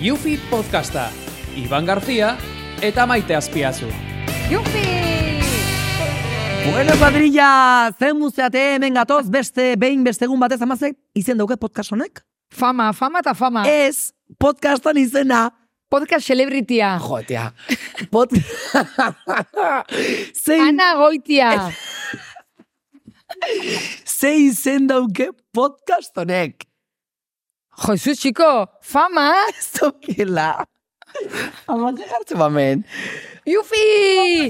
Yufi Podcasta, Iban Garzia eta Maite Azpiazu. Jupi! Bueno, kuadrilla, zen muzeate hemen gatoz, beste, behin beste egun batez amazek, izen dauke podcast honek? Fama, fama eta fama. Ez, podcastan izena. Podcast celebritia. Jotea. Pod... zein, Ana goitia. zein izen dauke podcast honek. Josu, txiko, fama. Ez daukela. Amazek hartze bamen. Yufi!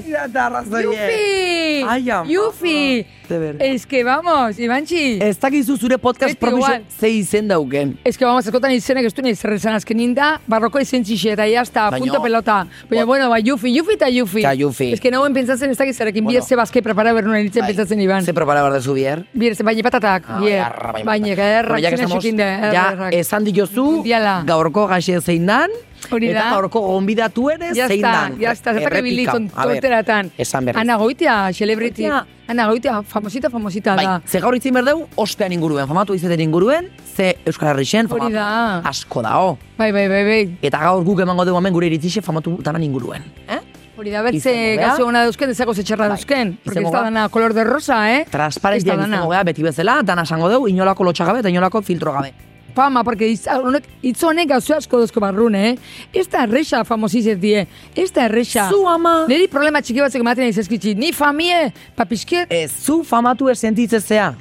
Ira eta arrazoie. Yufi! Ai, ama. Yufi! De ber. Es que vamos, Ibanchi. Ez dakizu zure podcast Beti promiso igual. zein izen dauken. Es que vamos, askotan izenek ez du nahi zer esan azkenin da, barroko izen txixe, eta jazta, Baino- punto pelota. Baina, Ba- bueno, ba, Yufi, Yufi eta Yufi. Ta Yufi. Es que nagoen pentsatzen ez dakiz zerekin, Bueno. bueno. bier bazke prepara bernuan nintzen pentsatzen Iban. Ze prepara behar dezu bier? Bier ze, baina patatak, Ah, bier. arra, bai, Baina, bai. errak, Bueno, ya que txina estamos- xutinde, Ja, errak. esan diozu, Mundiala. gaurko gaxe zein dan, Hori eta da. gaurko gonbidatu ere Ya zein está, dan. ya está, zertak ibili Errepika. ton- A ber, tonteratan. Esan berriz. Ana Goitia, celebrity. Goitia. Ana Goitia, famosita, famosita bai, da. ze gaur itzin berdeu, ospean inguruen, famatu izaten inguruen, ze Euskal Herrixen, Hori famatu. da. Asko dao. Bai, bai, bai, bai. Eta gaur guk emango dugu hemen gure iritzixe famatu danan inguruen. Eh? Hori da, bertze Izango gara. gazo hona dauzken, ezago zetxerra Bai, dauzken. Porque ez izango da gara. dana kolor de rosa, eh? Transparentia Ez da dana. izango gara, beti bezala, dana esango dugu, inolako lotxagabe eta inolako filtro gabe. Fama, porque hitz honek, hitz honek gauzo asko dauzko barrun, eh? Ez da erresa famosizet die, ez da erresa. Zu ama, Neri problema txiki batzuk ematen ez ezkitzi, ni famie, papisket, ez zu famatu ez sentitzezea.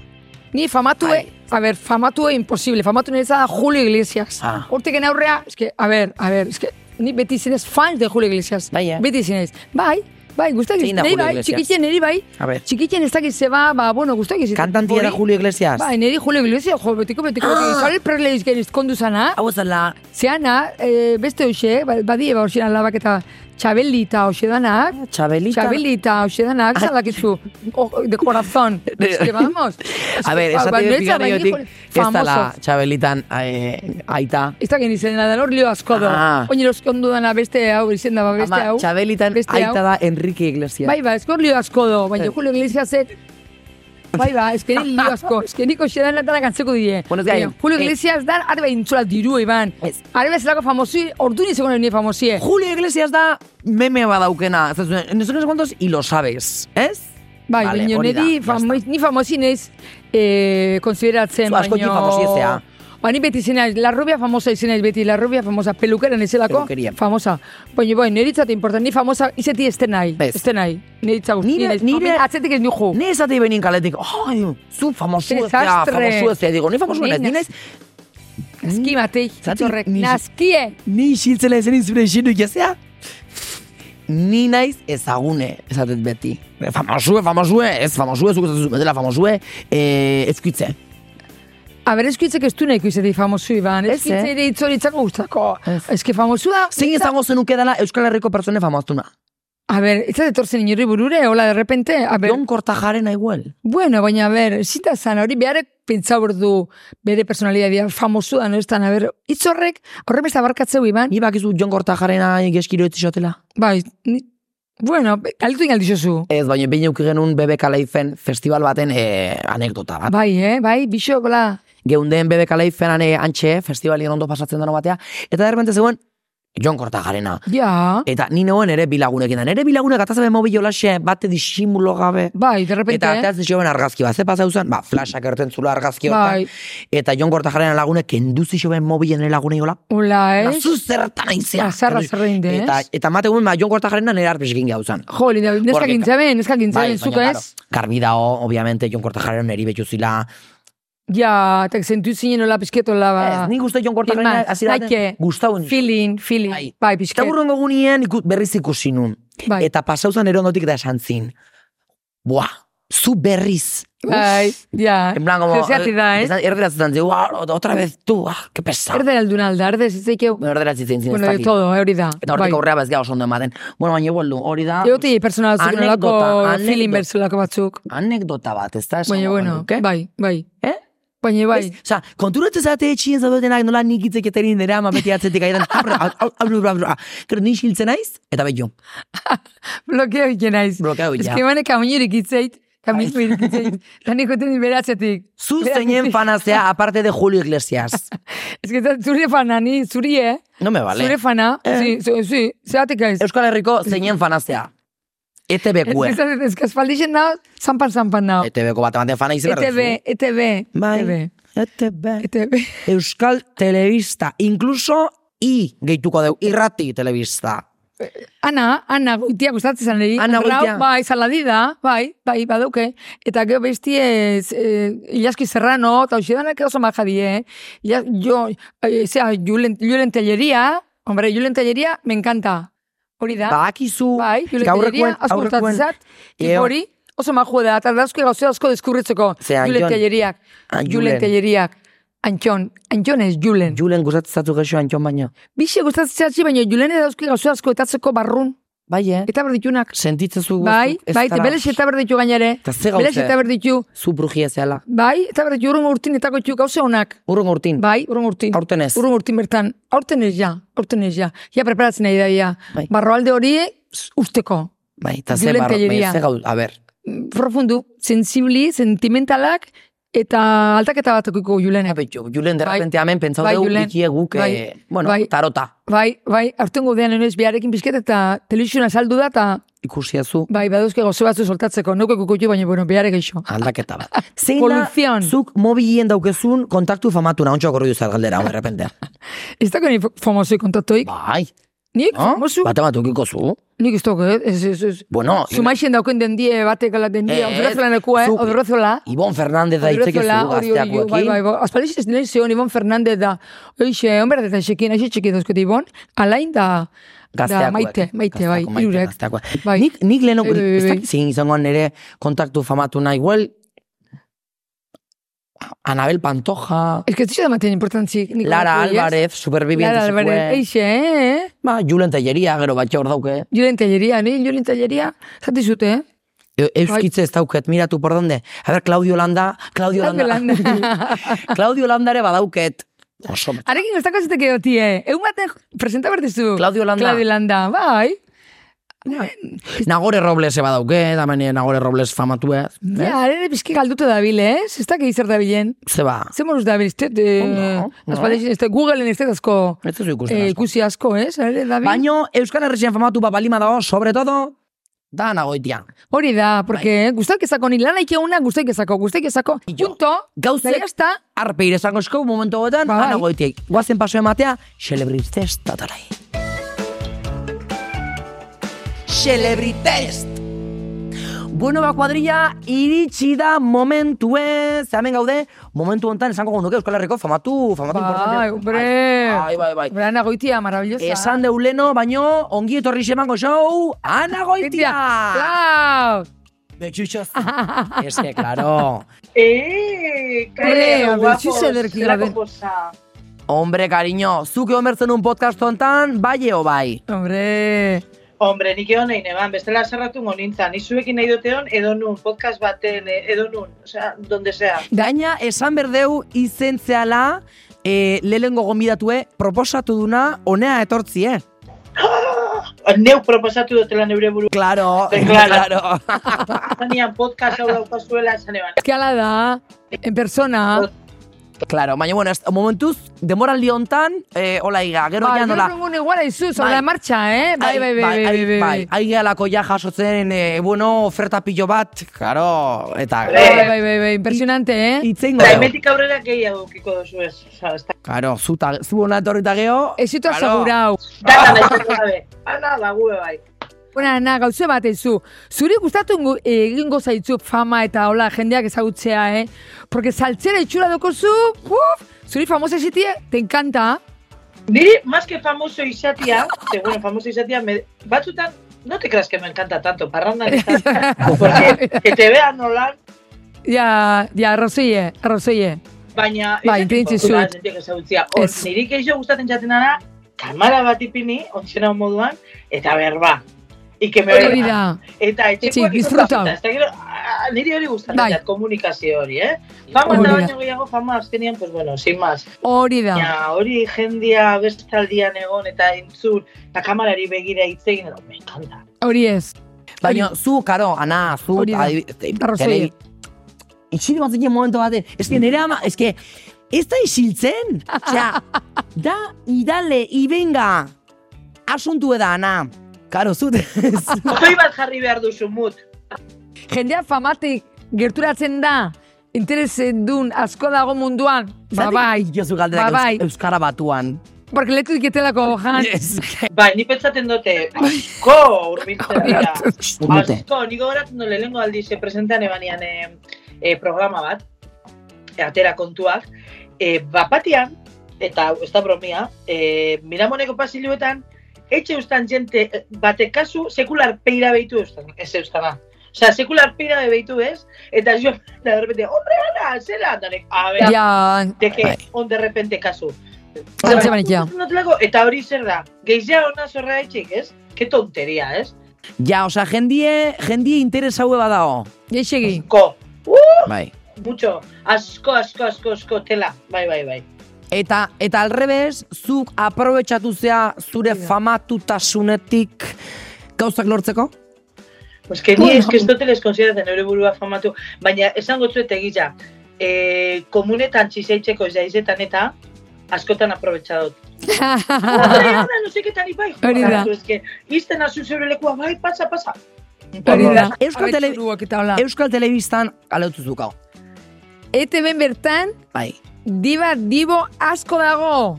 Ni famatue, Ai. a ber, famatue imposible, famatu niretza da Julio Iglesias. Ah. Hortik aurrea, eske, a ber, a ber, eske, ni beti zinez fan de Julio Iglesias. Bai, eh? Beti zinez. Bai, bai, guztak Zein da neri Julio bai, Iglesias? txikitien neri bai, A ber. txikitien ez dakiz zeba, ba, bueno, guztak izan. Kantantiera Julio Iglesias. Bai, neri Julio Iglesias, jo, betiko, betiko, betiko, Ah. Isabel Presley izken izkondu zana, Hau zela, zeana, eh, beste hoxe, ba- badie, ba, hoxe labak eta Txabelli eta hoxe danak, Ah, Txabelita. Ah, Txabelita, hoxe danak, zalakizu, o- de corazón. Es que vamos. Es A que, ver, ba- esate ba- dut niretzat, bigarren baina jotik, ez dala famosos. txabelitan eh, aita. Ez da gen izena da, hor lio asko do. Ah. Oin eroskondu dana beste hau, izen da, ba, beste Ama, hau. txabelitan beste hau. aita da Eh. Enrique Iglesias. Bai, ba, eskor lio asko do, baina Julio Iglesiasek Bai, ba, eskenin lio asko, eskeniko xedan latanak antzeko die. Bueno, ez gain. Baina Julio Eh. Iglesias dan, arba intzula diru, Iban. Ez. Arba zelako famosi, ordu nizeko nire famosie. Julio Iglesias da meme badaukena. Ez dakit, no sé qué cuantos y lo sabes, ez? Bai, Vale, baina hori da, niri basta. famoiz, ni famosi naiz eh, konsideratzen, Zu askotik famosi ez zea. Ba, ni beti izena, la rubia famosa izena naiz beti, la rubia famosa, pelukera nizelako, Pelukeria. famosa. Baina, bai, niretzat importan, ni famosa izeti ez nahi, Ez. ez nahi, niretzat guzti, Nire- nire, nire- atzetik ez nuhu. Ni esate benin kaletik, ai, zu famosu ezea, Desastre. famosu ezea. Digo, ni famosu Ni ez, ni naiz- naiz, Nazki matei, Zati, zorrek, ni- nazkie. ni xiltzela ezen izure xinu ikasea. Ni naiz ezagune, esatet beti. Famosue, famosue, ez famosue, zuk ez duzu bezala famosue, eh, ezkitze. A ber, eskuitzek ez du nahiko izeti famosu, Iban. Ez, eh? Eskuitze ere itzori itzako guztako. Ez. Ez que famosu da. Zein izango zenuke dela Euskal Herriko pertsone famaztuna? A ber, ez da etortzen inorri burure, hola, de repente, a ber, Jon Kortajaren aiguel. Bueno, baina, ber, zita zan, hori beharek pentsa hor du bere personalidadea famosu da, no estan, a ber, hitz horrek, horren beste abarkatzeu iban, Ni bakizu Jon Kortajaren geskiro ez zotela. bai, ni, bueno, be- galdetu ingaldizozu. Ez, baina behin euki genuen BBK Laifen festival baten eh, anekdota bat. Bai, eh, bai, bixo, gola, Geunden BBK Laifen ane antxe, festivalien ondo pasatzen dano batea, eta derbente zegoen Jon Kortajarena. ja, Eta ni neuen ere bilagunekin. da. Nere bilagunek atazabe mobil jolaxe bate disimulo gabe. bai, de repente, Eta eh? ateaz zioben argazki bat, ze pasau zen, ba, flashak erten zula argazki hortan. Bai. Eta Jon Kortajarena lagunek kendu zioben mobilen lagunei jola. hola, eh? Zu zertan aizea. Azarra zerra inde, Eta, ez? eta mate guen, ba, Jon Kortajarena nere arpeskin gauzan. Jo, linda, neska Horrek- gintzaben, neska gintzaben, zuko Bai, baina, ez? claro, garbi dago, obviamente, Jon Kortajarena neri betuzila, Ja, eta zentu zinen hola pizketola, ba. Ez, nik uste Jon Kortajarena Irma, hasiera batean naike, gustauen. Feeling, feeling, Bai. bai, Eta pizket. burrengo gunien iku- berriz ikusi nun. Bai. Eta pasauzan ero ondotik da esan zin. Buah, zu berriz. Bai, ja. En plan, como... Zezeati da, eh? Erderaz zan zin, "Uah, otra vez tú, ah, que pesa. Erdera aldun alda, erdera zitzeikeu. Bueno, erderaz zin zin, Bueno, ez de dakit. todo, eh, hori da. Eta hortik aurrera bezgea oso ondo ematen. Bueno, baina boldu, hori da... Eoti personala zuk nolako Anekdota, feeling anekdota. berzelako batzuk. Anekdota bat, ez da? Baina, bueno, bai, bai. Eh? Baina, bai. Osa, konturatzen zate etxien zaudetenak nola nik hitzek eterin dira ama beti atzetik aidan. Abra, abra, abra, abra. Gero ni xiltzen naiz, eta behin jo. Blokeo egin naiz. Blokeo, ja. Ez que manek amunirik itzait, Eta mitu irikitzen. Eta nik goten beratzetik. Zu zeinen fanazea, aparte de Julio Iglesias. Ez que eta zure fana, ni, zuri, eh? No me vale. Zure fana, zi, zu- zi, zeratik gaiz. Euskal Herriko zeinen fanazea. E ETB-ko. Ez ez- ez que aspaldixen nao, zanpan zanpan nao. ETB-ko bat ematen fana izan behar ETB, duzu. ETB, Bai. ETB, ETB. ETB. Euskal Telebista. Inkluso I gehituko dugu. Irrati telebista. Ana, Ana goitia gustatzen zan niri. Ana Arrau, Goitia. Bai, saladida, bai, bai, baduke. Eta gero besti ez, eh, Ilaski Serrano, eta hoxe danak oso maja die. Ila, jo, eh, zera, Julen, Julen Telleria, hombre, Julen Telleria, me encanta. Hori da. Ba, Badakizu. Ah. Bai, Julen Telleria, gaurrekoen, asko gustatzen aurrekoen. zat. Eh, Tipo hori, oso majua da, eta dauzke gauze asko deskurritzeko. Ze, Julen Antxon. Telleriak, Ah, Julen Julen. Telleriak, Antxon, Antxon ez Julen. Julen gustatzen zatu gexo Antion baino. Bixe gustatzen zatzi, baina Julen dauzke gauze asko etatzeko barrun. Bai, eh? Eta berditunak. Sentitzen zu Bai, guztu, ez bai, zara- belex eta berditu gainare. Eta ze Belex gauze? eta berditu, Zu brujia zela. bai, eta berditu urrun urtinetako txu gauze honak. Urrun urtin. Bai, urrun urtin. Aurten ez. Urrun urtin bertan. Aurten ez ja, aurten ez ja. Ja preparatzen nahi da, ja. Bai. Barroalde hori usteko. Bai, eta ze Julen barro. Telleria. Bai, ze gau, a ber. Profundu, sensibli, sentimentalak, eta altaketa batukiko A julenek. ber, jo, Julen de Bai. repente amen pentsau Bai, dugu Julen. bikie guk, Bai. eh, bueno, Bai. tarota Bai, bai, aurten godean enoiz biarekin pizket eta telebizioan saldu da, eta ikusia zu bai, baduzke gozo batzu soltatzeko. Nuko kukutu, baina, bueno, biarek eixo. aldaketa bat. Zein da, Koluzion. zuk mobilien daukezun kontaktu famatuna, ontsa gorri duzar galdera, hau, de repente. Ez da gani famosoi kontaktoik. Bai, Nik, no? famosu, Bate bat ukiko zu. Nik ez dago, eh? ez, ez, ez. Bueno, Zumaixen dauken den die batek ala den die, Ez, odrozola nekua, eh? zu- Odrozola. Ibon Fernandez da itzeke zu Odrozola, hori hori, hori, bai, bai, gazteakoekin. bai. Azpalix ez nire zion, Ibon Fernandez da, oixe, hombre, eta xekin, aixe txiki dauzkete Ibon, alain da, da Gazteakoek. maite, maite, bai, Gazteako maite, irurek. gazteakoak. Bai. Nik, nik lehenok, Bai, bai, ez bai. dakit zein izango nire kontaktu famatuna, igual, Anabel Pantoja, Ez que ez da maten importantzik. nik Lara onako, ez? Alvarez, superviviente Bai, Lara zukue. Alvarez, eixe, eh? Ba, Julen Telleria, gero batxe hor dauke. Julen Telleria, ni Julen Telleria, zati zute, eh? E- Euskitze ez dauket, miratu por donde. A ber, Claudio Landa, Claudio Claudio Landa. Landa. Claudio Landa ere badauket. Oso. Arekin ez dakaziteke doti, eh? Egun baten presenta bertizu. Claudio Landa. Claudio Landa, bai. Nagore Robles eba dauke, damene Nagore Robles famatue. Ja, arere bizki galduta dabil, eh? Ez dakit zer dabilen. Zeba, Zer moruz dabil, ez dut, eh, Ondo, Oh, no? aspaldexen ez dut, Googleen ez dut asko ez duzu ikusten este eh, asko. ikusi asko, eh? Arere dabil. Baino, Euskal Herrixen famatu bat balima dago, sobre todo, da nagoitia. Hori da, porque eh, guztaik ezako, ni lan aike una guztaik ezako, guztaik ezako. jo. Punto, da Gauzek- jazta, Arpe irezango eskou momentu goetan, Ba, ba, bai. anagoitiek. Guazen paso ematea, celebrites tatalai. Celebrites! Bueno, ba, kuadrilla, iritsi da momentue. Zamen gaude, momentu hontan esango gondoke Euskal Herriko famatu, famatu Bai, importante. hombre. Bai, bai, bai. Brana goitia, maravillosa. Esan deuleno, baino, ongi etorri xemango show, anagoitia! Lau. Betxutxoz. Ez que, claro. ¡Eh! Hombre, a ¡Qué ver, guapo! sí se ve que la zelako ve- poza. Hombre, cariño, zuke omertzen un podcast hontan, bai o bai. Hombre. Hombre, nik egon nahi neban, bestela zerratu nintzen. Ni zuekin nahi doteon, edo nun, podcast baten, eh, edo nun, osea, donde sea. Gaina, esan berdeu izen zehala, e, lehengo gomidatue, proposatu duna, honea etortzie. Neu proposatu dutela neure buru. Claro, Eh, claro. claro. Zanean podcast hau daukazuela esan eban. Ez que ala da, en persona. claro, baina, bueno, ez- momentuz, demoraldi hontan, eh, hola iga, gero Ba, gero ja nola. egun iguala izu, Bai. sobre la marcha, eh? Bai, bai, bai, bai, bai, bai. Ai gehalako ja jasotzen, eh, bueno, oferta pilo bat, claro, eta... Bai. Bai, bai, bai, bai, impresionante, eh? Itzengo, Eta hemetik aurrera gehiago ukiko duzu ez. Osea, ez da- claro, zu, ta, zu hona etorri eta geho... Ez ditu claro. asegurau. Dana nahi zatu gabe. Ana, ba, gube bai. Bona, na, gauze bat izu. Zuri gustatu ingo- egingo zaitzu fama eta hola jendeak ezagutzea, eh? Porque saltzera itxura dokozu, uf, zuri famosa zitie, te encanta. Niri, más que famoso izatia, que bueno, famoso izatia, me, batzutan, no te creas que me encanta tanto, parrandan izan, porque que te vean nolan, Ja, ja, arrazoie, arrazoie. Baina, Bai, ez dakit intentsi portura zut. jendeak ezagutzea. Hor, Ez. niri gehiago gustatzen jaten dara, kamara bat ipini, ontzena moduan, eta berba. Ike me Hori berba. da. Eta Sí, etxekoak disfruta. disfruta. Ez da gero, ah, niri hori gustatzen Bai. jat, komunikazio hori, eh? Fama Hori eta da. baino gehiago, fama azkenian, pues bueno, sin más. Hori da. Ja, hori jendia bestaldian egon eta entzun, eta kamarari begira hitz egin, me encanta. Hori ez. Baina, zu, karo, ana, zu, Hori da. adibi- te- Arrazoi. telebi- Isil bat zinen momentu baten, eske nire ama, eske, ez da isiltzen, Osea, da, idale, ibenga, asuntu eda, ana, karo, zu, Botoi bat jarri behar duzu mut. Jendea famatik gerturatzen da, interesen dun asko dago munduan. Ba bai, jozu ba galderak bai, eus- euskara batuan. porque letu diketelako jan. Yes. Bai, ni pentsaten dute, Bai. asko urbiltzen dira. Urrute. Asko, niko goratzen dut lehenko aldiz eh, presentean ebanian eh, eh, programa bat, eh, atera kontuak, eh, bapatian, eta ez da bromia, eh, miramoneko pasiluetan, etxe ustan jente eh, batek kasu sekular peira behitu eustan, ez eustana. Osea, sekular peira behitu ez, eta jo, da repente, hombre, ana, zela, danek, a ber, Ja, teke, Bai. on de repente kasu. Antxe banikia. Notelako, Eta hori zer da, geizia ona zorra etxik, ez? Ke tonteria, ez? Ja, osea, jendie, jendie interes haue badao. geixegi. Ko, Bai. mucho, asko, asko, asko, asko, tela, bai, bai, bai. Eta, eta alrebez, zuk aprobetxatu zea zure famatutasunetik gauzak lortzeko? Pues que ni es que esto te les consideratzen eure burua famatu, baina esango zuet egia, e, komunetan txiseitzeko jaizetan eta askotan aprobetsa dut. Hombre, ona, no sé qué tan ibai. Ah. Hori da. Es que izten azu zeure lekua, bai, pasa, pasa. Hori da. Euskal Tele- Aretsuruak eta hola. E Euskal Telebistan alautu zuk hau. ETB bertan, Bai, diba, dibo asko dago.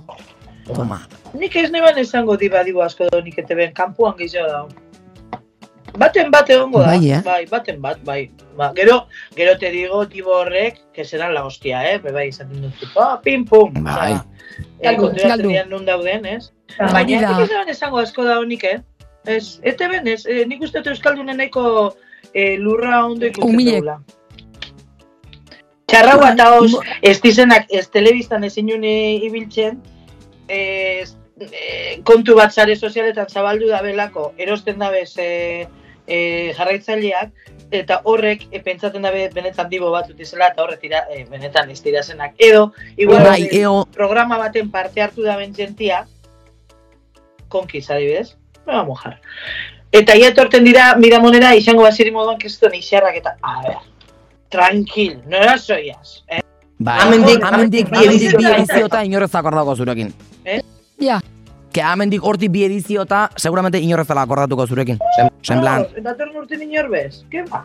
toma. Nik ez neban esango diba dibo asko da nik ete ben, kanpuan gehiago dago. Baten bat egongo da. Bai, eh? bai, baten bat, bai. Ba, gero, gero te digo, dibo horrek, que serán la hostia, eh? Be, bai, izaten dut, tipo, ah, pim, pum. Bai. Eh, Galdu, galdu. konturatzen dian nun dauden, ez? Hori da. Baina, nik ez neban esango asko da honik, eh? Ez, ete ben, ez, eh, nik uste dut Euskaldunen nahiko eh, lurra ondo ikusten Umilek. dugula. Txarraua eta hoz, ez dizenak, ez telebistan ezin juni ibiltzen, ez, eh, kontu bat sare sozialetan zabaldu da belako, erosten dabez e, e, jarraitzaileak, eta horrek e, pentsatzen dabe benetan dibo bat utizela, eta horre tira, eh, benetan ez tirazenak. Edo, igual, Bai, eh, eo, programa baten parte hartu da bentzentia, konkiz adibidez, me va a mojar. Eta ia etorten dira, miramonera, izango baziri moduan, keston izarrak eta, a ber, tranquil, nora soiaz, eh? bai. Amendik- amendik bi amendik- edizio- bi ediziota inorrez akordatuko zurekin. Ja, Ke amendik horti bi ediziota, seguramente inorrez dela akordatuko zurekin. Sen, sen plan, Vamos, Eta torn urten inorbez, ke ba?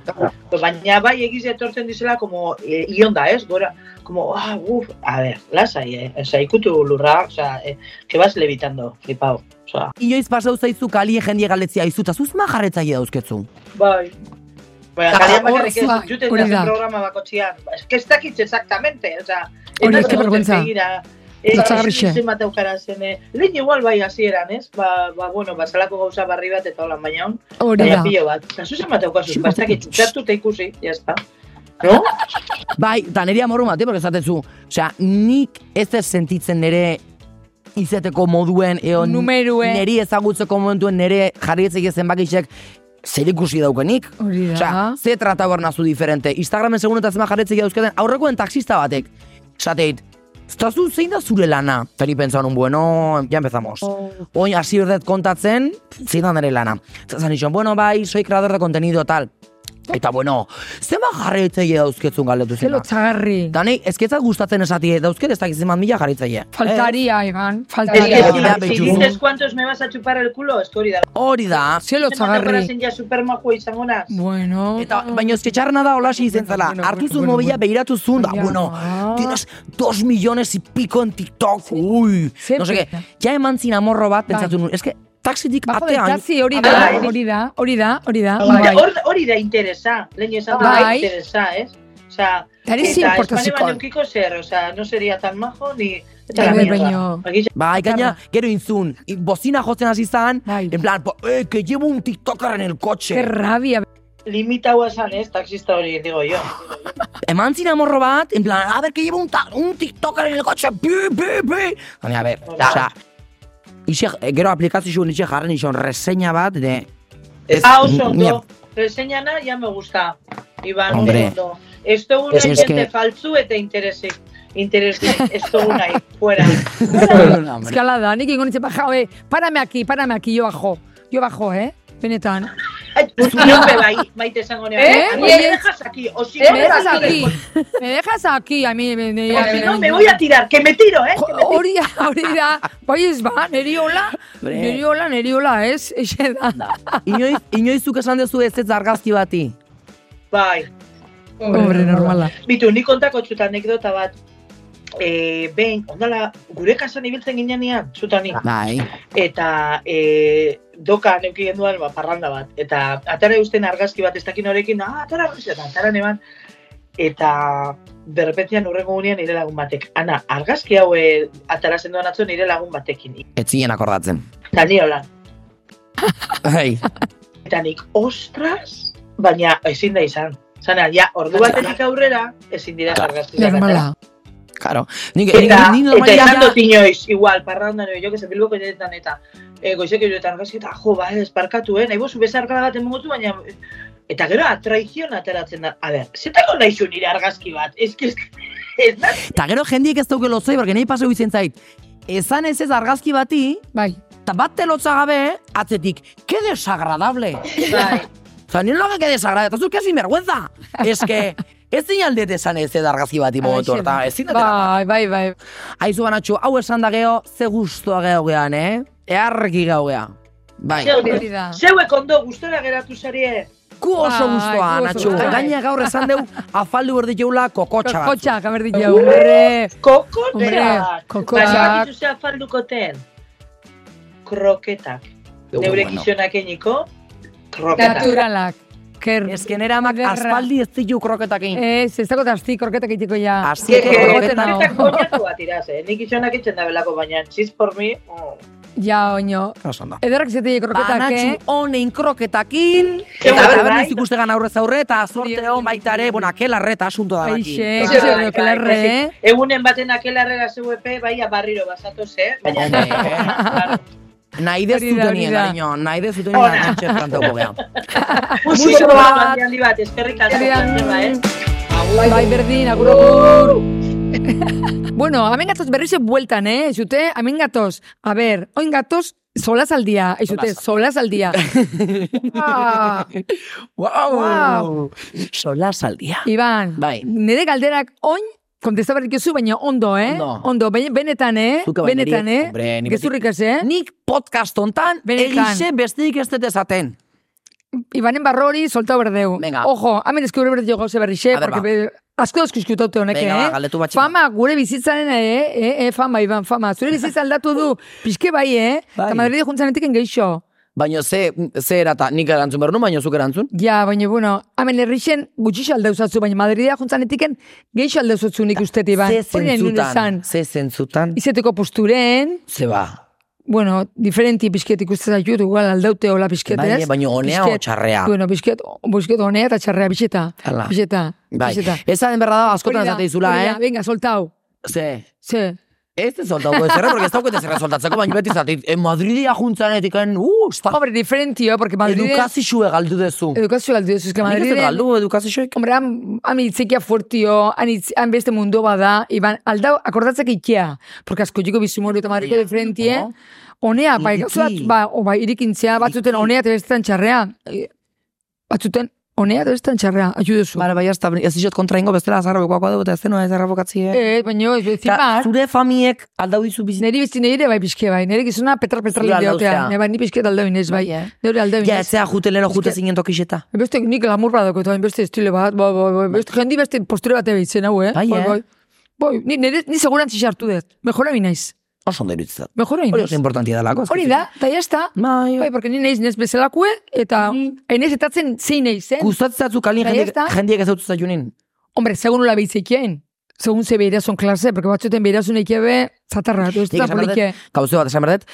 Pues Baina bai egiz etortzen dizela, como, eh, ionda, ez? Gora, como, ah, uf, a ber, lasai, eh? Osa, ikutu lurra, osa, eh, que vas levitando, flipao, osa. inoiz pasau zaizu kalie jendie galetzia izuta, zuzma jarretzaile dauzketzu. Bai. Baina, Ah, kalean bakarrik ez, hor, juten hori da. da programa bakotxean. Ez que ez dakit exactamente, oza... Hori, eske vergüenza. Lotsagarrixe. Zenbat aukara zen, eh, lehen igual bai hasieran, ez? Ba, ba, ¿eh? bueno, ba, zelako gauza barri bat eta holan baina hon. hori Baina da. pilo bat. Kasu zenbat aukazu, ba, ez dakit, txutxatu eta ikusi, jazta. No? Bai, eta niri amorru mate, porque esatezu, osea, nik ez ez sentitzen nire izeteko moduen, eo, Numeruen. niri ezagutzeko momentuen nire jarrietzek zenbakisek zer ikusi daukenik. Hori da. Osea, ze trata behar nazu diferente. Instagramen segun eta zenbat jarrietzek dauzketen, aurrekoen taxista batek. Esateit, Zazu zein da zure lana? Tari pentsan un bueno, ya empezamos. Oh. Oin hasi berdet kontatzen, zein da nire lana. Zan nixon, bueno, bai, soy creador de contenido, tal. Eta bueno, zenba jarrietzei dauzketzun galdetu Ze zena. lotzagarri. Dani, ezketzat gustatzen esati, dauzket ez dakiz eman mila jarritzaile. Faltaria, egan. Es que Faltaria. Hori da, si- si, betxu. dices cuántos me vas a chupar el culo, es que hori da. Eh, Hori da. Ze Zenbat aukera lotzagarri. zen ja supermajua izango naz? Bueno. Eta, baina ezke txarrena da olaxi izen zela. Bueno, bueno, Hartu zuen bueno, mobila bueno. Ah. behiratu zuen, da, Ya. bueno, tienes dos millones y pico en TikTok, ui. Ze No seke, pena. ja eman zin amorro bat, pentsatu Bai. nuen, eske, taxitik Bajo del atean, taxi, hori da, Bai. hori da, hori da, hori da. Baina Bai. hor- hori da interesa, lehen esan da Bai. interesa, ¿eh? ez? Osa, Eta eh, ez Espainian importazikoa. neukiko zer, osa, no sería tan majo, ni... Bai, Eta la bai, mierda. baino. Egia- Bai, gaina, gero intzun, i- bozina jotzen hasi zan, Bai. en plan, po, eh, que llevo un TikToker en el Ke coche. rabia. Limitaua esan ez, taxista hori, digo yo. Eman zin amorro bat, en plan, a ver, que llevo un, ta- un TikToker en el coche, bi, bi, bi. Hani, a ver, Hola. osea, ixe, eh, gero aplikazio zuen ixe jarren izan reseña bat, de, Ez, ah, oso Mierda. ondo, reseñana ya me gusta, Iban, Hombre. Hombre. ondo. Ez dugu Es nahi que- jente faltzu eta interesik. Interesik, ez dugu nahi, fuera. Eskalada, nik ingo nintzen baja, eh, parame aquí, parame aquí, yo bajo. Yo bajo, eh? Benetan. Urtionpe bai, maite esango nean. ¿Eh? A mí me dejas aquí, o si no Me me dejas tiro. aquí, me dejas aquí, a mí. Me, me, O si no, me voy a tirar, que me tiro, ¿eh? Jo, Hori da, hori da, bai ez ba, neri hola, neri hola, neri hola, ez, eixe da. Inoiz, inoizuk esan dezu ez ez argazki bati. Bai. Hombre, normala. Bitu, nik kontako txuta anekdota bat. E, behin, ondala, gure kasan ibiltzen ginean txutani. Bai. Eta e, doka neuki genduan, ba, parranda bat. Eta atara eusten argazki bat, ez dakin horrekin, ah, atara argazki, eta atara neban. Eta berrepetian urrengo gunean nire lagun batek. Ana, argazki hau e, atara zenduan atzo nire lagun batekin. Ez zinen akordatzen. Bai, Eta niola. Hei. Eta nik, ostras, baina ezin da izan. Zana, ja, ordu batetik aurrera, ezin dira argazki. Normala. Claro. Nik, nik, Eta, nik eta normalia esan ja- dut inoiz, igual, parranda nio, jo, que se bilboko jenetan eta e, goizeko joetan gazik, eta jo, ba, ez, barkatu, eh, nahi bozu bezarkada bat emogotu, baina... eh, Eta gero, traizion ateratzen da. A ber, zetako naizu nire argazki bat, ez, ez, ez, da- Eta gero jendiek ez dauke lotzei, porque nahi paseu izen zait. Ezan ez ez argazki bati, Bai, eta bat telotza gabe, atzetik, que desagradable. bai, Osa, nien loga que desagradable, eta zu, que sinvergüenza. Ez que, ez zinaldet esan ez ez argazki bati momentu Aixe da. horta, ez zinatela. bai, bai, bai. Aizu banatxu, hau esan da geho, ze guztua geho gehan, eh? Earreki geho geha. Bai. zeu, Hori da. zeuek ondo gustora geratu zarie. Ku oso Bai, guztua, gu oso Natxu. gustoa. Gaina gaur esan deu, afaldu behar dituela kokotxa batzu. Kotxak, haber ditu, hombre. Hombre, Kokoteak. kokoteak. Baina bakitu zea faldukoten. Kroketak. Neure gizonak eniko, kroketak. Naturalak. Ker... Ez que nera amak Ederra. aspaldi ez ditu kroketak egin. Ez, ez dago tazti korketak egiteko ja. Azti Ke- ke- Kroketa. Korketan hau. Kroketak koñatu bat iraz, eh? Nik izonak etxen da belako, baina txiz por mi, oh. Ja, oino. Esan da. Ederrak zetei korketak, Banatxu eh? honen kroketakin, Zer eta bai, taberniz bai. ikustegan aurrez aurre, eta zorte hon baita ere, bueno, akelarre eta asunto da Bai. baki. Aixe, Bai, aixe, bai, horrek bai, larre, bai, eh? Egunen baten akelarrera ZVP, baia barriro basatu ze, baina... Hombre, eh? Claro. Nahi Hori dezuten da, hori nien, da. cariño, nahi dezuten nien, Ona. nantxe frantauko geha. Muxu bat. bat, handi handi bat, eskerrik asko, Eskerrik asko. Joseba, eh? Bai, berdin, agur, agur. bueno, hemen gatoz berriz bueltan, eh? Zute, hemen gatoz. A ber, oin gatoz, solazaldia. Zute, solazaldia. ah, Wow. Sola saldia. Iban, Bai. nire galderak oin, kontesta behar dituzu, baina ondo, eh? Ondo. ondo ben- benetan, eh? Zuke baina benetan, niri- eh? Hombre, ni beti- Gezurrik ez, eh? Nik podcast hontan, Benetan. egize besteik ez dut esaten. Ibanen barrori, solta berdeu. Venga. Ojo, hamen eskure berdeu goze berrixe, A ber, porque ba. be, asko eskuskutaute honek, Venga, ba, eh? galdetu bat txiki. Fama, gure bizitzaren, eh? eh, eh, fama, Iban, fama. Zure bizitza aldatu du, pixke bai, eh? Bai. Eta Madrid juntzanetik engeixo. Baina ze, ze erata, nik erantzun behar nuen, baina zuk erantzun. Ja, baina, bueno, hamen herrixen gutxixo aldeuzatzu, baina Madridea juntzanetiken geixo aldeuzatzu nik uste, Iban. Ze bai. Hori nahi nuen esan. zentzutan, ze zentzutan, Izeteko posturen, ze ba. bueno, diferenti pixket ikusten zaitut, igual aldaute hola pixket, Bai, ez? baina honea Pixket- o txarrea? Bueno, pixket, pixket honea eta txarrea, pixeta. Hala. Pixeta, Bai, pixeta. esa den berda da, askotan Hori da, esate dizula, hori da, eh? Ah. Venga, soltau. Ze, Ze. ez ez soltauko ez porque ez daukete zerra soltatzeko, baina beti zati, eh, en Madridia juntzanetik, en, uh, sta, Hombre, diferentio, porque eh, Madrid... edukazizue galdu dezu. Edukazio galdu duzu, eske Nik ez Madrid... dut galdu edukazizue. Hombre, han, han itzekia fuertio, han, itz, han beste mundu bada, iban, aldau, akordatzak ikea, porque asko jiko bizimoru eta Madridko diferentie, Oho. honea, eh? bai, Iriki. gauza bat, ba, o, bai, irikintzea, batzuten honea eta bestetan txarrea, E, batzuten honea eta bestetan txarrea, ayuduzu. Bara, bai, ez da, ez dizot kontra ingo, bestela azarra bekoakoa dugu, eta ez denoa ez zarra bokatzi, eh? Eh, baina ez bezin Ta, bat, zure famiek aldau dizu bizitza. niri bizi nire bai pixke bai, nire gizona petral petrali Zure aldauzea. deotea, ne, bai, ni pixke aldau inez bai, neure aldau eh. Ja, inez. etzea jute leno jute zinen tokixeta. Beste nik lamur bat dago, eta hain beste estilo bat, bo, bo, bo, beste, jendi beste posture bat ebitzen hau, eh? Bai, eh? Boi, ni, nire, ni segurantzi sartu dut, mejora binaiz, Oso ondo iruditzat. mejora Hori oso binaiz. importantia dalako. Hori da, eta jazta, Bai, bai, porque ni naiz nez bezalakue, eta enez etatzen zein naiz, eh? gustatzatzu kalin Bai, jendiek, ez da. jendiek ez dut zaitunin. Hombre, segun nola behitzekien, segun ze behirazun klase, porque batzuten behirazun eikebe, zatarra, ez Nik da esan behar dut, polike. Gauze bat, esan behar dut.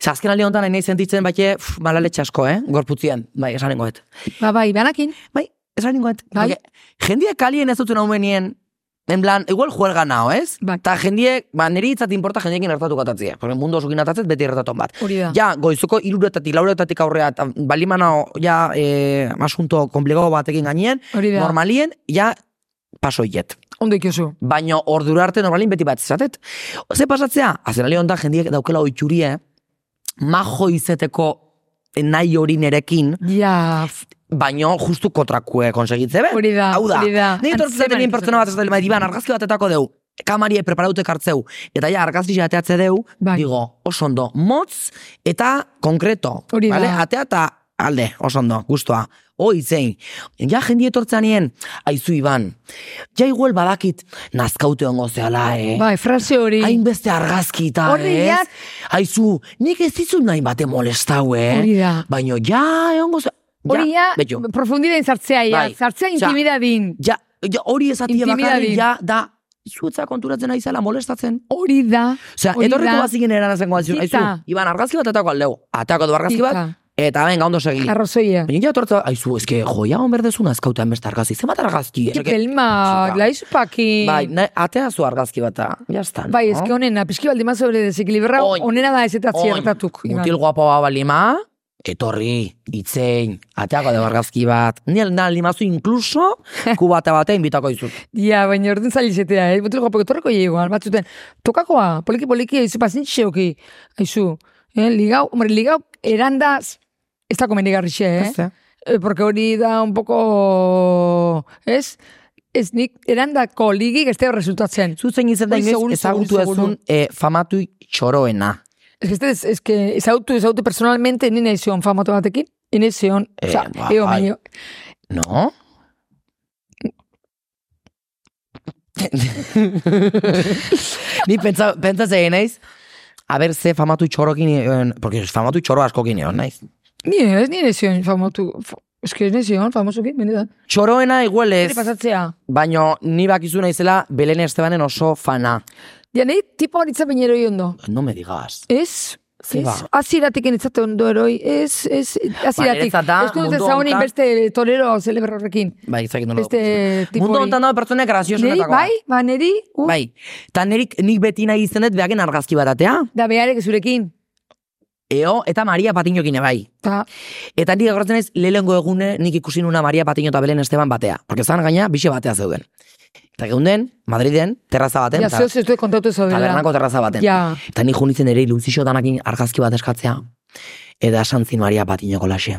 Ze azken aldi honetan nahi sentitzen bate malale txasko, eh? Gorputzien, bai, esan nengoet. Ba, bai, banakin. Bai, esan nengoet. Bai. Bai. Jendiek kalien ez duten haumenien, en plan, igual juelga nao, ez? Bai. Ta jendiek, ba, neri itzat importa jendiekin ertatu gatatzea. Porque mundu osukin atatzet, beti ertaton bat. Hori da. Ja, goizuko iruretatik, lauretatik aurrea, eta balimana, ja, eh, asunto komplikado batekin gainien, Hori da. normalien, ja, pasoiet. Ondo ikiozu. Baina ordura arte normalin beti bat zatet. Ze pasatzea, azerali honetan jendiek daukela oiturie, majo izeteko eh, nahi hori nerekin, Ja, f- baino justu kontrakue konsegitze be. Hori da, Hau da. hori da. Nei etortzen zaten Antzeman nien pertsona bat esaten, bai, Iban, argazki batetako deu, kamarie preparaute kartzeu, eta ja, argazki jateatze deu, Bai. digo, oso ondo, motz eta konkreto. Hori da. bale? Atea eta alde, oso ondo, gustoa. Hoi, zein. Ja, jendi etortzen nien, aizu Iban, ja igual badakit, nazkaute ongo zeala, eh? bai, frase hori. Hainbeste argazki eta, Horri ez? jak- Aizu, nik ez dizut nahi bate molestau, eh? Hori da. Baino, ja, egongo ze... Hori ja, betxo. profundida inzartzea, ja, Bai. zartzea Osea, intimidadin. Ja, ja hori esatia bakarri, Intimidadin. ja, da, zuetza konturatzen aizela molestatzen. Hori da. Osea, hori etorriko da. bazigin eran zengo atzun, aizu, Tita. Iban, argazki bat atako aldeu. Atako du argazki bat, Tita. eta venga, ondo segi. Arrozoia. Baina, ja, tortza, aizu, eske, jo, ja, onberdezun azkautean beste argazki, zemat argazki? Ke Eske, pelma, Tita. laizupaki. Bai, na, atea zu argazki bat, jazta. Bai, ez que honena, pixki baldin bat sobre desekilibrau, Oin. honena da ez eta Oin, ziertatuk. Mutil guapoa balima, etorri, itzein, ateako da argazki bat. Ni alda limazu inkluso, kubata batean bitako izut. Ja, baina ordin zalizetea, eh? Mutil guapo etorreko llego, batzuten. Tokakoa, poliki poliki, aizu pazintxeoki, aizu. Eh, ligau, hombre, ligau, erandaz, ez da komenigarri xe, eh? Ez da. Eh, Porque hori da un poco, ez? Ez nik, erandako ligik ez da resultatzen. Zuzen izen da Hoi, inoiz seguru, ezagutu seguru, seguru. ezun e, famatu txoroena. Ez que, ez, ez que ezautu, ezautu personalmente nina izion famatu batekin. Ine zion, Eh, oza, ba, eo, bai. baino, No? Ni pentsa, pentsa zegin naiz, aber ze famatu txorokin, eh, porque famatu txoro askokin egon naiz. Ni ez, ni nezion famatu, fa- eske ez nezion famosukin, benetan. Txoroena igual ez, Hori pasatzea. baino ni bakizu naizela Belen Estebanen oso fana. Ja, nahi tipa horitza bainero ondo. No me digas. Ez, Ze ez, ba? aziratik enetzate ondo eroi, ez, ez, aziratik. niretzat da, ez dut mundu ezagunik honetan- beste torero celebro horrekin. Bai, ezakit nola. Beste tipo Mundu hori. honetan dago pertsonek Neri, graziosunetako. bai, ba, neri, uh, Bai. Ta nerik, nik beti nahi izan dut behaken argazki bat atea. da beharek zurekin. Eo, eta Maria Patiñokin bai. Ta, Eta nik agoratzen ez, lehengo egune nik ikusi nuna Maria Patiño eta Belen Esteban batea. Porque zan gaina, bixe batea zeuden. Eta geunden, Madriden, terraza baten, ja, ta- zeo zeo kontatu ez tabernako terraza baten. Ja, Eta nik junitzen ere iluzio danakin argazki bat eskatzea. Eta esan zin Maria Patiñoko laxe.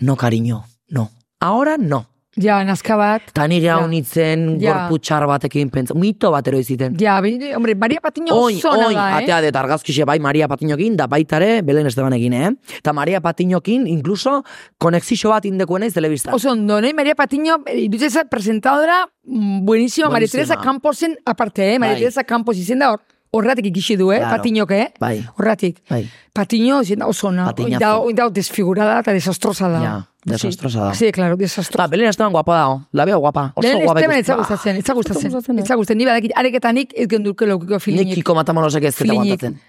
No, cariño, no. Ahora, no. ja, nazka bat. Eta nire Ja. hau nitzen Ja. gorputxar batekin pentsa. Mito bat eroiziten. Ja, bine, hombre, Maria Patiño Oin, oso ona oin, da, eh? atea dut argazkixe bai Maria Patiñokin, da baitare Belen Estebanekin, eh? Eta Maria Patiñokin, inkluso, konexixo bat indekuen naiz telebista. Oso ondo, nahi Maria Patiño, eh, iruditzen presentadora, mm, buenísima, Maria Buenísima. Teresa Camposen, aparte, eh? Maria Bai. Teresa Campos izenda hor, horratik ikisi du, eh? Claro. Patiñok, eh? Bai, Horratik. bai. Patiño izenda oso ona. Patiñazo. Da, da desfigurada eta desastrosa da. Ja, desastrosa da. Sí, sí, claro, desastrosa. Eta Belen Esteban guapa dago, la veo guapa. Oso Lehen guapa esteban ikusten. ez gustatzen, ez gustatzen, ez ¿eh? gustatzen, ni badakit, areketanik ez genduke lokiko Nik filinik. Kiko Matamalosek ez eta Filinik. guantatzen.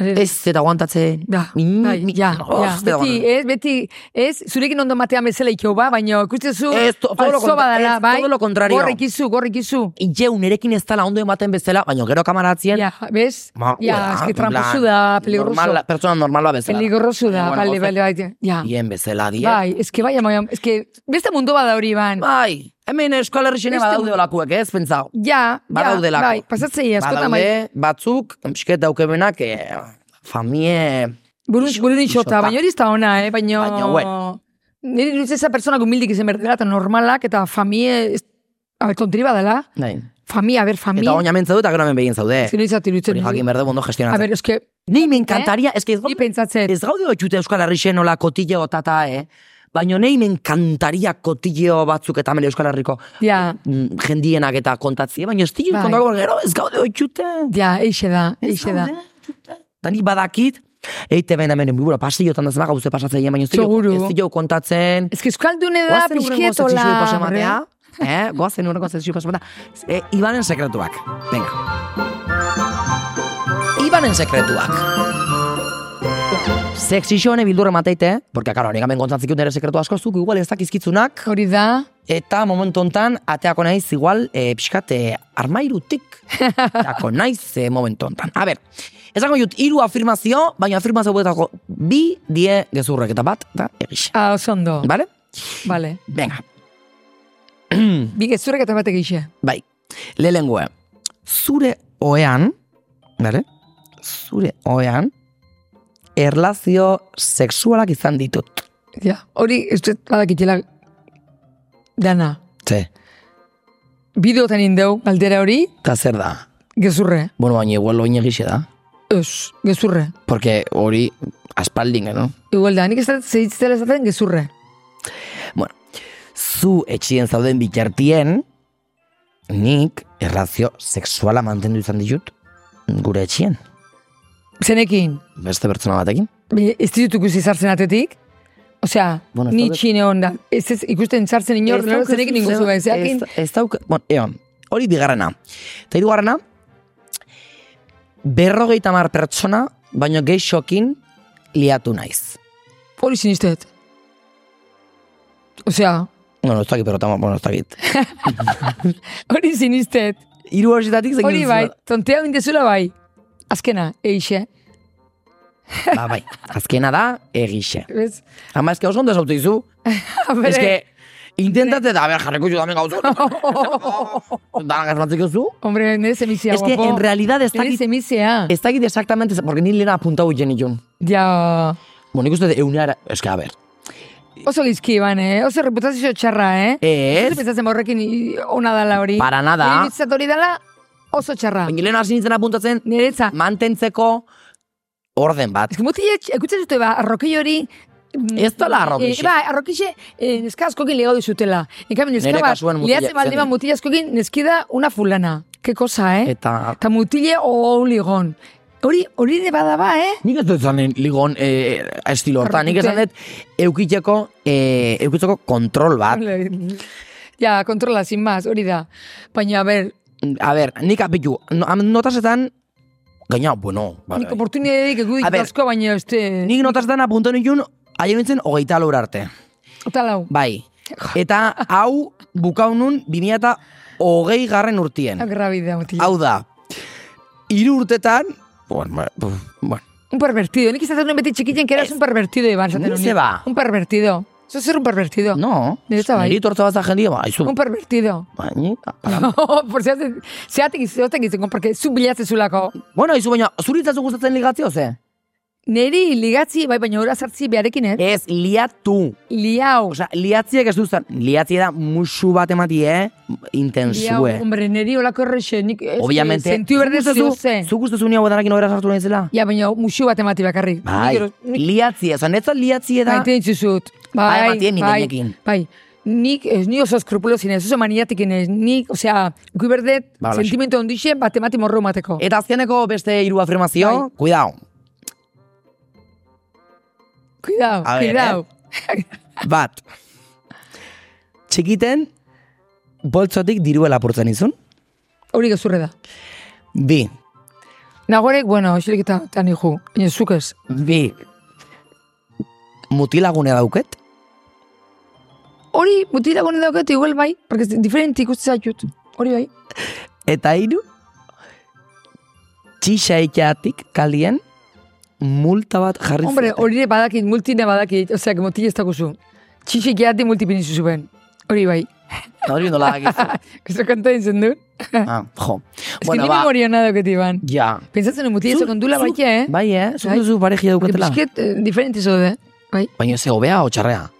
Ez eta guantatzen. Da, Min- bai, min- ja, Oh, ja. ez eta Beti, eh. guantatzen. ez, beti, ez, zurekin ondo matea bezala ikio ba, baina ikusten zu, Ez, to- todo lo falso contra- badala, ez, bai, todo lo contrario. gorrik izu, gorrik izu. Jeu nerekin ez dala ondo ematen bezala, baina gero kamaratzien. Ja, bez? Ma- Ja, en eski plan, tramposu da, normal- peligroso. Pertsona normala bezala. Peligroso da, Bueno, bale, gozak- bale, bale, ja. Bien bezala, dien. Bai, eski bai, amaia, eski, beste mundu bada hori ban. Bai, hemen Euskal Herrixene Beste- badaude olakuek, ez, pentsau. Ja, ja, Badaudelako. bai, pasatzei askotan bai. Badaude, batzuk, pixket daukemenak, eh, famie... Burun, burun Ixota. isota, baina hori ez da ona, eh, baina... Baina, bueno. Niri dut eza pertsonak humildik izan berdela, eta normalak, eta famie... ez- eh, A ber, tontiri badala, Nahi. famia, a ber, bai. Eta famia... oina mentza dut, eta gero hemen begin zaude. Ez que noiz atirutzen. Hori jakin berde ondo A gestionatzen. ber, eske, Nei, me encantaria, ez que ez ni gaude, pentsatzen. ez gaude otxute Euskal Herrixen nola kotilleo tata, eh? Baina nei, me encantaria kotilleo batzuk eta hemen Euskal Herriko Ja, mm, jendienak eta kontatzie, baina ez dira Bai. kontako gero ez gaude otxute. ja, eixe da, eixe da. Da ni badakit, eite ben hemen bibura pasillotan da zema gauze pasatzen, baina ez Seguru. dira ez dira kontatzen. Ez que euskaldune da, Goazen urrengo pixkietola. zesizio hombre. pasamatea. Eh, goazen urrengo zesizio pasamatea. Eh, Ibanen sekretuak. Venga. Ibanen sekretuak. Sexixo hone bildurre mateite, porque, karo, nik hemen kontzatzik nire sekretu asko zuk, igual ez dakizkitzunak, Hori da, eta momentu hontan ateako naiz igual, e, pixkat, eh, armairutik, ateako naiz e, momentu hontan. A ber, esango jut, hiru afirmazio, baina afirmazio buetako bi die gezurrek, eta bat, da, egixe. ah, oso ondo. Bale? Vale. Venga. Bi gezurrek eta batek eixe. Bai, lehengoa. Zure oean, bale? Zure oean, erlazio sexualak izan ditut. Ja, hori, ez dut badakitela dana. Ze, Bideotan indeu, galdera hori, eta zer da? gezurre. Bueno, baina igual loin egixe da. Ez, gezurre. Porque hori aspaldin, no? Igual da, nik ez dut zehitzela esaten gezurre. Bueno, zu etxien zauden bitartien, nik erlazio sexuala mantendu izan ditut gure etxien. Zenekin, Beste pertsona batekin. baina ez ditut ikusi zartzen atetik, Osea, Bueno, ez ni daude- txine honda. Ez ez ikusten sartzen inor, Ez daukazu zenekin zeu- inguzu bai, zeakin. Ez, ez dauk, bon, egon, hori bigarrena. Eta hirugarrena, berrogeita mar pertsona, baino geixokin liatu naiz. Hori sinistet. Osea, Bueno, ez dakit, pero tamo, bueno, ez dakit. hori sinistet. Hiru horietatik zekin Hori bai, tontea bintezula bai. Azkena, eixe. Ba, bai. Azkena da, egixe. Ez? Ama, eske oso ondo esautu izu. Bere, Eske, intentate da, a ber, jarriko zu damen gauzu. Dana gasmatzeko zu. hombre, nire zemizia, Eske, guapo. en realidad ez Nire dakit, zemizia. ez dakit exactamente, ze- porque ni lehena apuntau guen itun. Ja, Bueno, nik uste dut eunara, eske, a ber. oso gizki ban, eh? Oso reputazio txarra, eh? Ez Ez, pentsatzen horrekin i- ona dala hori. Para nada. Nire niretzat hori dala oso txarra. Baina lehen hasi nintzen apuntatzen, Niretza. mantentzeko orden bat. Ez que mutile, ekutzen dute ba, arrokei hori... mm, Ez dala arrokixe. Eh, ba, arrokixe, eh, neska askokin ligau dizutela. Ekamen, neska Nere bat, kasuan mutila liatzen baldin zen. bat mutila askokin, neski da una fulana. Ke cosa, eh? Eta... Eta mutile ouligon. Hori, hori de bada ba, eh? Nik ez dut zanen ligon e, estilo hortan, nik esan dut eukiteko, e, eukitzeko kontrol bat. Ja, kontrola, sin más, hori da. Baina, a ber, A ber, nik apitu, no, am- notasetan, gaina, bueno, ba, nik oportunidadik ekudik A ber. asko, baina, este... nik notasetan apuntu nituen, haien nintzen hogeita laur arte. Otalau. Bai. Eta hau bukaunun 2000 eta hogei garren urtien. Agrabidea, mutile. Hau da, hiru urtetan, bueno, bueno, bueno, Un pervertido. Nik izaten nuen beti txikitzen que eras un pervertido, Iban. esaten Ni nuen. ze ba. Un pervertido. Eso ser un pervertido. No. Niretza bai. Niri tortza bat da jendia, ba, izu. Un pervertido. Oh, Baina, Por zehaten, zehaten izaten gizengo, porque zu bilatzen zulako. bueno, izu baina, zuritzazu gustatzen ligatzio, ze? Neri ligatzi, bai, baina hori azartzi beharekin, eh? Ez, liatu. Liau. Osa, liatziek ez duzan, liatzie da musu bat emati, eh? Liau, Intensue. hombre, neri holako errexe. Nik, eh, ez, eh. Obviamente. Sentiu berde zu zu gustazu- Zu guztezu nio guadanakin obera sartu nahi zela? Ja, baina musu bat emati bakarrik. Bai, Nik, nik liatzie, oza, netza liatzie da. maite dituzut. Bai, Bai, matien nire bai, nekin. bai. Nik, ez, ni oso eskrupuloz inez, oso maniatik inez. Nik, osea, gui berdet, Ba, Eh, holaxe. sentimento ondixe, bat emati morro mateko. Eta azkeneko beste hiru afirmazio, Bai. cuidao. Cuidao, A ver, eh. cuidao. Bat. Txikiten, boltsotik dirua lapurtzen izun. Hori gezurre da. Bi. Nagorek, bueno, xilik eta tan iku. Baina zuk ez. Bi. Mutilagune dauket. Hori mutila gune dauket igual bai, porque es diferente ikusten zaitut. Hori bai. Eta hiru, txisa ikeatik kalien multa bat jarri Hombre, zioten. hori ere badakit, multine badakit, osea, que mutila ez dakuzu. Txixi gehiati multipin izu zuen. Hori bai. Hori nola dakizu. Eso kanta dizen du. ah, jo. Ez que nire memoria hona dauket iban. ja. Pentsatzen du mutila ba. Zu- ez kondula zu- baitia, eh? Bai, eh? Zuk Bai. duzu parejia Porque daukatela. pixket, eh, diferente zo de. Bai. Baina ze hobea o txarrea.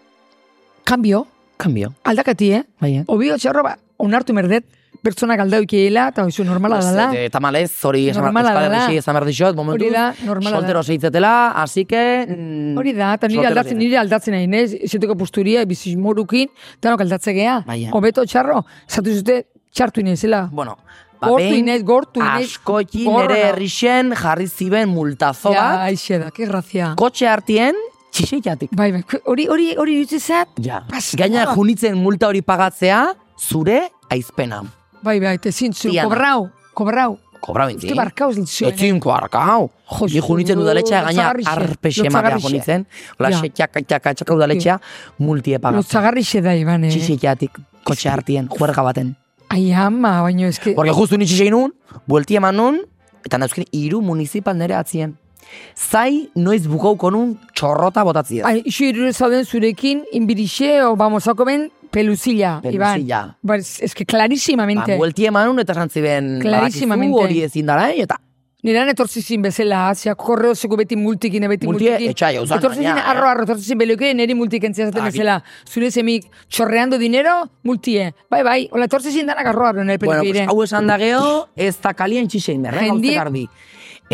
Cambio, Kambio. aldakati, eh? Bai, eh? Obio txarro, ba, onartu merdet, pertsonak aldaukiela, eta oizu Ba, normala dala. eh, Tamalez, hori esan Normala behar dela. dixi, esan behar dixot, momentu. Hori da, normala da. Soltero seitzetela, así que... mm, Hori da, eta nire soltero aldatzen, zirela. nire aldatzen nahi, nez, izeteko posturia, bizimorukin, danok aldatze geha. Baina. Hobeto txarro, zatu zute, txartu inezela. Bueno, ba, Gortu inez, gortu inez. askokin gorra. nere herrixen jarri ziben multazo Ja, bat, aixe da, que grazia. kotxe hartien txiseiatik. Bai, bai, hori, hori, hori dutze zat, Ja. Pasada. Gaina junitzen multa hori pagatzea, zure aizpena. bai, bai, te zintzu, Tiana. kobrau, kobrau. Kobra Uste bintzin. barkauz litzuen. Etzin, koarkau. Jo, Ni junitzen zu, udaletxea, gaina lotsagarrixe, arpexe ematea lotsagarrixe. junitzen. Ola, Ja. xe, txaka, txaka, txaka udaletxea, multie pagatzea. Lotzagarri xe da, Iban, eh? Txiseiatik, kotxe hartien, juerga baten. Ai, ama, baino, eske, Porque justu ni txixei nun, buelti eman nun, eta nauzkin iru municipal nere atzien. Zai, noiz bukauko nun, txorrota botatzi ai, iso irure zauden zurekin, inbirixe, o, vamos, hauko ben, peluzila, Iban. Peluzilla. Ba, es- eske, clarísimamente. Ba, buelti eman nun, eta zantziben, Clarísimamente. hori ezin dara, eh, eta Nirean etortzizin bezala, zia, korreozeko beti multikin, beti Multie, multikin. etxai, hausan, Etortzizin, baina, eh. arro, arro, etortzizin belioke, neri multiken zaten Aki. bezala. Zure zemik, chorreando dinero, multie. Bai, bai, hola, etortzizin danak arro, arro, nire Bueno, pues, pelipire. hau esan da geho, ez da kalien txixein berre, Jendie- gauzte eh? garbi.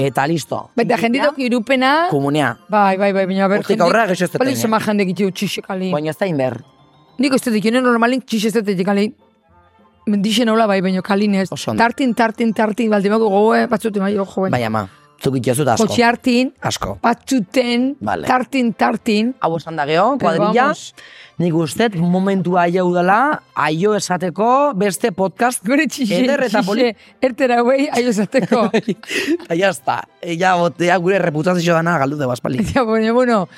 Eta listo. Baita jendidok irupena, Komunea. bai, bai, bai, baina ber, Hortik aurrera gesestetan, bali eh. zema jende gitu, txixek alin. Baina ez da inber. Nik uste dut, jene normalin txixestetetik alin. Mendixen hola bai, baina kalin ez. Oso ondo. Tartin, tartin, tartin, baldimako gogoe, batzuten, bai, ojo, bai. Baina ma, zuk itxezut asko. Kotxiartin, Asko. batzuten, Vale. tartin, tartin. Hau esan da geho, kuadrilla. vamos. Nik ustet momentua aiau dela, aio esateko beste podcast. Gure txixe, Eder eta Bai. poli. txixe, ertera guei, aio zateko. Eta ya está. Ja, botea gure reputazio dana galdu de baspali. Eta, bueno, bueno,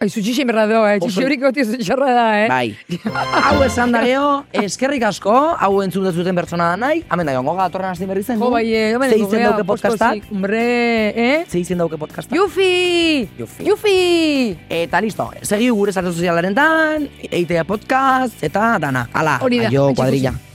aizu txixe merra doa, eh? txixe Oso- horik goti txarra da, eh? Bai. hau esan da geho, eskerrik asko, hau entzun dezuten pertsona da nahi, hamen da gongo gatorren hasi berri zen. Jo, bai, eh, hemen Ze izen gogea, dauke podcastak? postozik, Hombre, eh? Ze izen dauke podcastak? Yufi! Yufi. Yufi! Eta listo, segi gure zarte sozialaren dan, eitea podcast, eta dana. Ala, Hori da, aio, etxeko kuadrilla. zin.